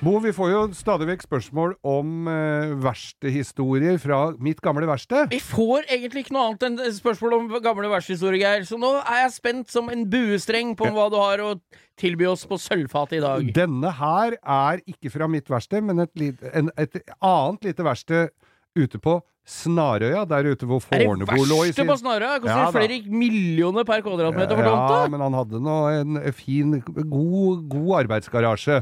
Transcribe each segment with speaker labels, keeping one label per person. Speaker 1: Bo, vi får jo stadig vekk spørsmål om eh, verkstedhistorier fra mitt gamle verksted.
Speaker 2: Vi får egentlig ikke noe annet enn spørsmål om gamle verdenshistorie, Geir. Så nå er jeg spent som en buestreng på hva du har å tilby oss på sølvfatet i dag.
Speaker 1: Denne her er ikke fra mitt verksted, men et, lit- en, et annet lite verksted ute på Snarøya, der ute hvor
Speaker 2: Er det
Speaker 1: Fornebu lå i
Speaker 2: verste
Speaker 1: sin
Speaker 2: på Snarøya? Det Koster
Speaker 1: Ja da.
Speaker 2: flere millioner per kvadratmeter for
Speaker 1: Ja,
Speaker 2: tomta?
Speaker 1: men han hadde nå en fin, god, god arbeidsgarasje.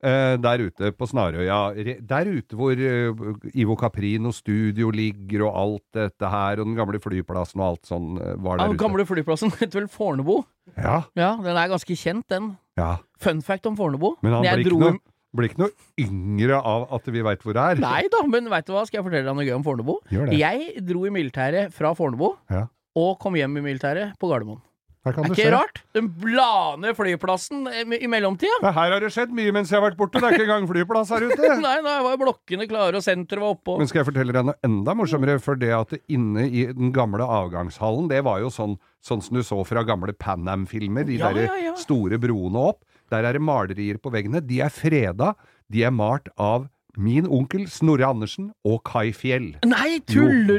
Speaker 1: eh, der ute på Snarøya. Re- Der ute hvor eh, Ivo Caprino studio ligger og alt dette her, og den gamle flyplassen og alt sånn eh, var
Speaker 2: Ja,
Speaker 1: der
Speaker 2: den gamle flyplassen heter vel Fornebu?
Speaker 1: ute. Ja,
Speaker 2: Ja, den er ganske kjent, den.
Speaker 1: ja.
Speaker 2: Fun fact om Fornebu.
Speaker 1: Men han
Speaker 2: Når jeg
Speaker 1: blir ikke,
Speaker 2: dro-
Speaker 1: noe, blir ikke noe yngre av at vi veit hvor det er.
Speaker 2: Nei da, men veit du hva, skal jeg fortelle deg noe gøy om Fornebu?
Speaker 1: Gjør det.
Speaker 2: Jeg dro i militæret fra Fornebu,
Speaker 1: Ja.
Speaker 2: og kom hjem i militæret på Gardermoen.
Speaker 1: Her kan
Speaker 2: Er
Speaker 1: du
Speaker 2: ikke
Speaker 1: se.
Speaker 2: rart? Den blaner flyplassen eh, i mellomtida.
Speaker 1: Ja, her har det skjedd mye mens jeg har vært borte. Det er ikke engang flyplass her ute.
Speaker 2: Nei, nei, var jo blokkene klare, og senteret var oppå.
Speaker 1: Men skal jeg fortelle deg noe enda morsommere? For det at det inne i den gamle avgangshallen, det var jo sånn, sånn som du så fra gamle Pan Am-filmer, de
Speaker 2: Ja,
Speaker 1: derre
Speaker 2: ja, ja.
Speaker 1: store broene opp. Der er det malerier på veggene. De er freda. De er malt av min onkel Snorre Andersen og Kai Fjell.
Speaker 2: Nei, tuller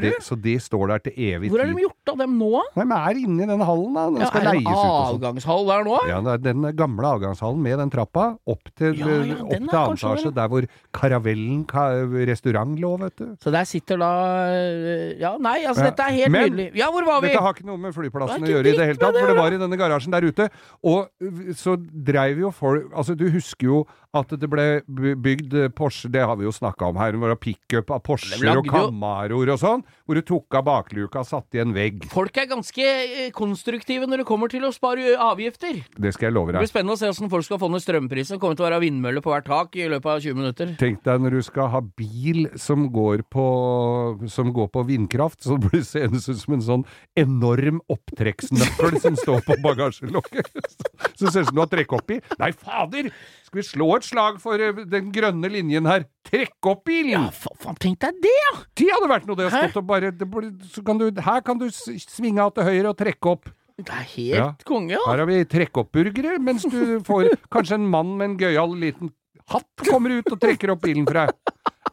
Speaker 1: Jo,
Speaker 2: du?!
Speaker 1: det- Så de står der til evig
Speaker 2: Hvor er de
Speaker 1: tid.
Speaker 2: gjort av dem nå?
Speaker 1: Nei, men er inne i den hallen, da. Den
Speaker 2: Ja,
Speaker 1: skal
Speaker 2: er det
Speaker 1: leies
Speaker 2: en
Speaker 1: ut og sånn.
Speaker 2: avgangshall der nå?
Speaker 1: Ja, det er den gamle avgangshallen med den trappa opp til,
Speaker 2: Ja, ja,
Speaker 1: opp til annen
Speaker 2: den er kanskje
Speaker 1: etasje,
Speaker 2: det.
Speaker 1: der hvor Karavellen ka, restaurant lå, vet du.
Speaker 2: Så der sitter da øh, Ja, nei, altså,
Speaker 1: Ja,
Speaker 2: dette er helt
Speaker 1: men-
Speaker 2: nydelig. Ja, hvor var vi?
Speaker 1: Dette har ikke noe med flyplassen å
Speaker 2: Det er ikke
Speaker 1: gjøre i det hele
Speaker 2: dritt med
Speaker 1: tatt,
Speaker 2: det,
Speaker 1: for det
Speaker 2: da.
Speaker 1: var i denne garasjen der ute. Og øh, så dreiv jo folk Altså, du husker jo at det ble by- bygd eh, Porsche, det har vi jo snakka om her, hvor det var pickup av
Speaker 2: Det
Speaker 1: Porscher
Speaker 2: lagde
Speaker 1: og
Speaker 2: jo-
Speaker 1: Camaroer og sånn, hvor du tok av bakluka, satte i en vegg.
Speaker 2: Folk er ganske øh, konstruktive når det kommer til å spare øh, avgifter. Det
Speaker 1: Det skal jeg love deg.
Speaker 2: blir spennende å se åssen folk skal få ned strømprisen. Det Kommer til å være vindmøller på hvert tak i løpet av 20 minutter.
Speaker 1: Tenk deg når du skal ha bil som går på, som går på vindkraft, så blir det seende ut som en sånn enorm opptrekksnøkkel som står på bagasjelokket. Så ser det ut som du har trekk oppi. Nei, fader! Skal vi slå et slag for eh, den grønne linjen her? Trekk opp bilen!
Speaker 2: Ja, fa- faen, tenk deg det, ja!
Speaker 1: Det hadde vært noe, det å
Speaker 2: Hæ?
Speaker 1: stått og bare det, blir- så kan du, Her kan du s- svinge av til høyre og trekke opp.
Speaker 2: Det er
Speaker 1: Ja.
Speaker 2: helt konge, ja.
Speaker 1: Her har vi trekk-opp-burgere, mens du får kanskje en mann med en gøyal liten hatt kommer ut og trekker opp bilen for deg.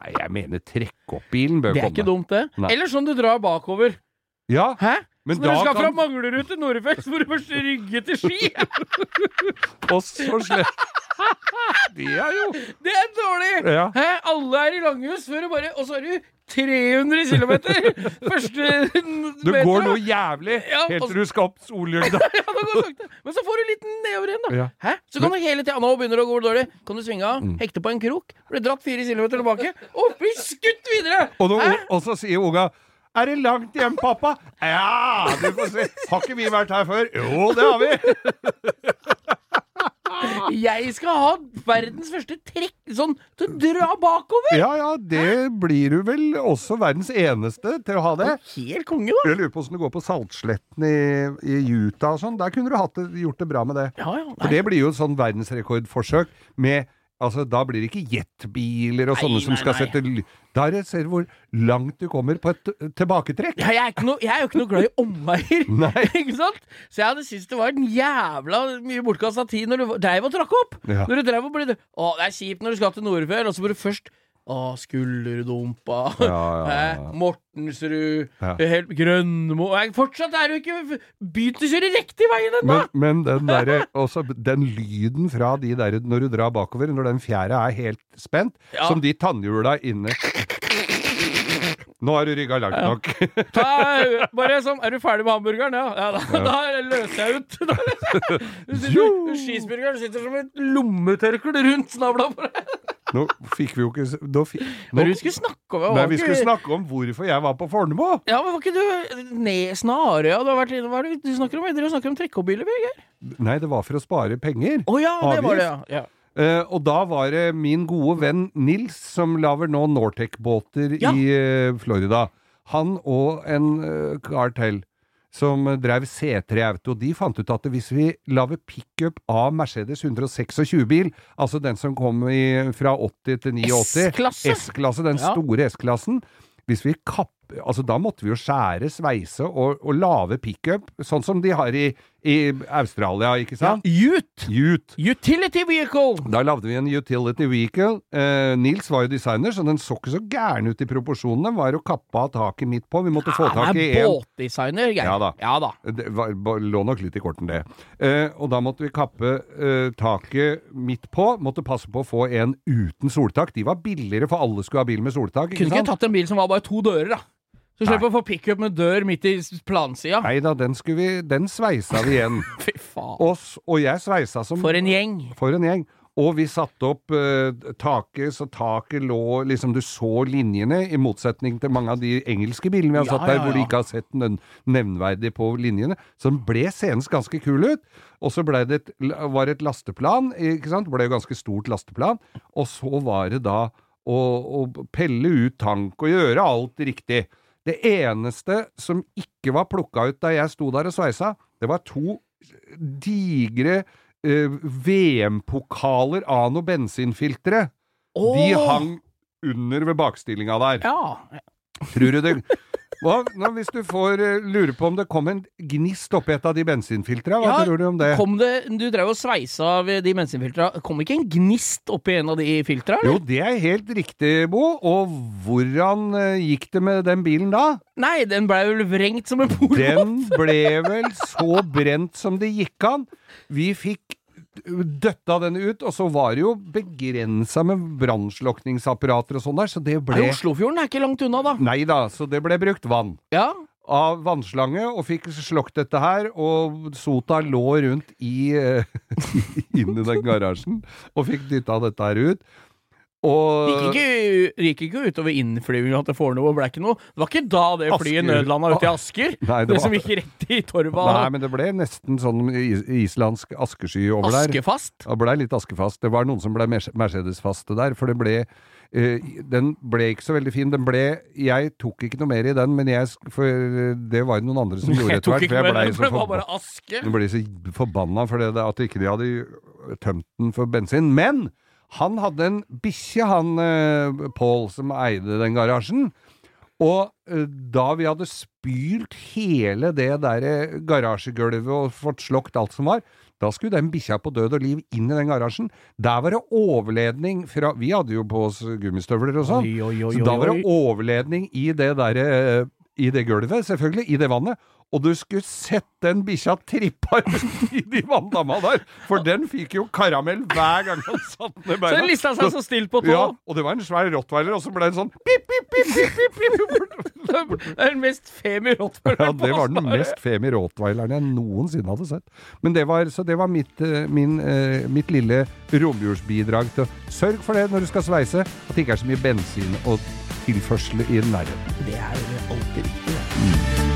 Speaker 1: Nei, jeg mener trekk-opp-bilen bør
Speaker 2: Det er
Speaker 1: komme.
Speaker 2: ikke dumt, det.
Speaker 1: Nei.
Speaker 2: Eller sånn du drar bakover.
Speaker 1: Ja,
Speaker 2: Hæ?
Speaker 1: men
Speaker 2: Så når
Speaker 1: da
Speaker 2: du skal fra
Speaker 1: kan
Speaker 2: Manglerud til Norefjell, så må du først rygge til Ski!
Speaker 1: også slett Det er jo
Speaker 2: Det er dårlig!
Speaker 1: Ja.
Speaker 2: Hæ? Alle er i langhus før du bare Og så er du 300 km! Første
Speaker 1: Du
Speaker 2: meter.
Speaker 1: går noe jævlig
Speaker 2: Ja,
Speaker 1: helt
Speaker 2: og-
Speaker 1: til du skal opp Solhjulda.
Speaker 2: Ja, det går sakte. Men så får du litt nedover igjen, da.
Speaker 1: Ja. Mm.
Speaker 2: Hæ? Så kan du hele tida Nå begynner det å gå dårlig. Kan du svinge av, hekte på en krok, bli dratt 4 km tilbake, og bli skutt videre!
Speaker 1: Og, nå-
Speaker 2: Hæ?
Speaker 1: og så sier unga er det langt hjem, pappa? Ja, du får se. Har ikke vi vært her før? Jo, det har vi.
Speaker 2: Jeg skal ha verdens første trekk sånn til å dra bakover!
Speaker 1: Ja ja, det blir du vel også verdens eneste til å ha det.
Speaker 2: Helt konge, da.
Speaker 1: Jeg lurer på åssen det går på Saltsletten i, i Utah og sånn. Der kunne du hatt det, gjort det bra med det.
Speaker 2: Ja, ja.
Speaker 1: For
Speaker 2: Nei.
Speaker 1: det blir jo et sånn verdensrekordforsøk med Altså, da blir det ikke jetbiler og
Speaker 2: Nei,
Speaker 1: sånne som
Speaker 2: nei,
Speaker 1: skal
Speaker 2: nei.
Speaker 1: sette ly- Der ser du hvor langt du kommer på et t- tilbaketrekk.
Speaker 2: Ja, jeg, er ikke noe- jeg er jo ikke noe glad i omveier,
Speaker 1: Nei.
Speaker 2: ikke sant? Så jeg hadde syntes det var en jævla mye bortkasta tid når du dreiv og trakk opp.
Speaker 1: Ja.
Speaker 2: Når du dreiv og ble Å, det er kjipt når du skal til Nordfjell, og så må du først Å, skulderdumpa,
Speaker 1: Ja, ja, ja.
Speaker 2: Hæ? Mortensrud,
Speaker 1: Ja.
Speaker 2: helt Grønmo Jeg- Fortsatt er du ikke begynt å kjøre riktig veien ennå!
Speaker 1: Men, men den derre også Den lyden fra de derre når du drar bakover, når den fjæra er helt spent,
Speaker 2: Ja.
Speaker 1: som de tannhjula inne Nå har du rygga langt nok.
Speaker 2: Ta- Bare sånn Er du ferdig med hamburgeren? Ja, ja da, da løser jeg ut. Da løser jeg. Du sitter,
Speaker 1: Jo.
Speaker 2: skisburgeren sitter som et lommetørkle rundt snabla på deg.
Speaker 1: Nå fikk vi jo ikke s- Nå, fi- nå,
Speaker 2: Men vi skulle snakke om
Speaker 1: nei,
Speaker 2: var
Speaker 1: vi
Speaker 2: ikke-
Speaker 1: skulle snakke om hvorfor jeg var på Fornebu.
Speaker 2: Ja, men var ikke du ned Snarøya? Du har vært inne Hva er det du snakker om? Dere snakker om trekkobiler, Birger?
Speaker 1: Nei, det var for å spare penger.
Speaker 2: Å ja, det var det, ja. ja.
Speaker 1: Eh, og da var det min gode venn Nils, som lager nå Nortec-båter
Speaker 2: Ja.
Speaker 1: i eh, Florida. Han og en eh, kar til. som drev C3 Auto, de fant ut at hvis vi lager pickup av Mercedes 126-bil, altså den som kom i, fra 80 til 89
Speaker 2: S-klasse?
Speaker 1: S-klasse, den
Speaker 2: Ja.
Speaker 1: store S-klassen. Hvis vi kapp... Altså, da måtte vi jo skjære, sveise og, og lage pickup, sånn som de har i, i Australia, ikke sant?
Speaker 2: Ut!
Speaker 1: Ute.
Speaker 2: Utility vehicle!
Speaker 1: Da lagde vi en utility vehicle. Eh, Nils var jo designer, så den så ikke så gæren ut i proporsjonene. Var jo kappa av taket midt på. Vi måtte få
Speaker 2: Han
Speaker 1: tak i
Speaker 2: Ah, er
Speaker 1: en.
Speaker 2: båtdesigner, Geir.
Speaker 1: Ja da.
Speaker 2: Ja da.
Speaker 1: Det var, ba- lå nok litt i korten, det. Eh, og da måtte vi kappe eh, taket midt på. Måtte passe på å få en uten soltak. De var billigere, for alle skulle ha bil med soltak.
Speaker 2: Kunne ikke tatt en bil som var bare to dører, da. Så slipper å få pickup med dør midt i s- plansida.
Speaker 1: Nei da, den, skulle vi, den sveisa vi igjen.
Speaker 2: Fy faen.
Speaker 1: Oss og jeg sveisa som
Speaker 2: For en gjeng.
Speaker 1: For en gjeng. Og vi satte opp eh, taket, så taket lå liksom Du så linjene, i motsetning til mange av de engelske bilene vi har
Speaker 2: Ja,
Speaker 1: satt der,
Speaker 2: ja,
Speaker 1: hvor de
Speaker 2: ja.
Speaker 1: ikke har sett den nevnverdig på linjene. Så den ble seens ganske kul ut. Og så ble det et, var det et lasteplan, ikke sant? Ble jo ganske stort lasteplan. Og så var det da å, å pelle ut tank og gjøre alt riktig. Det eneste som ikke var plukka ut da jeg sto der og sveisa, det var to digre eh, VM-pokaler av noe bensinfiltre. De
Speaker 2: Åh!
Speaker 1: hang under ved bakstillinga der.
Speaker 2: Ja.
Speaker 1: Tror du det hva, nå, Hvis du får eh, lure på om det kom en gnist oppi et av de bensinfiltra, hva
Speaker 2: Ja,
Speaker 1: tror du om det?
Speaker 2: Kom det, du drev og sveisa ved de bensinfiltra. Kom ikke en gnist oppi en av de filtra?
Speaker 1: Jo,
Speaker 2: eller?
Speaker 1: det er helt riktig, Bo. Og hvordan eh, gikk det med den bilen da?
Speaker 2: Nei, den blei vel vrengt som en polo.
Speaker 1: Den ble vel så brent som det gikk an. Vi fikk døtta den ut, og så var det jo begrensa med brannslukningsapparater og sånn der, så det
Speaker 2: Nei,
Speaker 1: ble
Speaker 2: Oslofjorden er ikke langt unna, da.
Speaker 1: Nei da, så det ble brukt vann
Speaker 2: Ja.
Speaker 1: av vannslange og fikk slokt dette her, og sota lå rundt i eh, inn i den garasjen og fikk dytta dette her ut.
Speaker 2: Det
Speaker 1: Og
Speaker 2: gikk ikke, det gikk ikke utover innflyvninga til Fornebu, blei ikke noe. Det var ikke da det
Speaker 1: Asker.
Speaker 2: flyet nødlanda ute i Asker.
Speaker 1: Nei,
Speaker 2: det,
Speaker 1: det
Speaker 2: som
Speaker 1: var-
Speaker 2: gikk rett i torva.
Speaker 1: Nei, men det ble nesten sånn is- islandsk askesky over der.
Speaker 2: Askefast.
Speaker 1: Det blei litt askefast. Det var noen som blei Mer- Mercedes-faste der, for det ble eh, Den ble ikke så veldig fin. Den ble Jeg tok ikke noe mer i den, men jeg sk- For eh, det var det noen andre som gjorde
Speaker 2: Jeg
Speaker 1: etter
Speaker 2: tok
Speaker 1: hvert.
Speaker 2: ikke
Speaker 1: For jeg
Speaker 2: med
Speaker 1: blei
Speaker 2: den, for
Speaker 1: så
Speaker 2: det var
Speaker 1: forba-
Speaker 2: bare aske.
Speaker 1: jeg ble så forbanna for det at ikke de hadde tømt den for bensin. Men han hadde en bikkje, han eh, Pål, som eide den garasjen. Og eh, da vi hadde spylt hele det derre garasjegulvet og fått slokt alt som var, da skulle den bikkja på død og liv inn i den garasjen. Der var det overledning fra Vi hadde jo på oss gummistøvler og sånn.
Speaker 2: Oi, oi, oi,
Speaker 1: Så da
Speaker 2: oi,
Speaker 1: var
Speaker 2: oi.
Speaker 1: det overledning i det derre eh, I det gulvet, selvfølgelig. I det vannet. Og du skulle sett den bikkja trippa rundt i de vanndamma der! For den fikk jo karamell hver gang han satte ned
Speaker 2: Så
Speaker 1: beina.
Speaker 2: den lista seg så stilt på tå.
Speaker 1: Ja, og det var en svær rottweiler, og så ble den sånn pip, pip, pip, pip, pip, pip, pip.
Speaker 2: Det er den mest femi
Speaker 1: Ja, det var den mest femi rottweileren jeg noensinne hadde sett. Men det var, så det var mitt, eh, min, eh, mitt lille romjulsbidrag til Sørg for det når du skal sveise, at det ikke er så mye bensin og tilførsel i nærheten.
Speaker 2: Det er jo alltid viktig. det.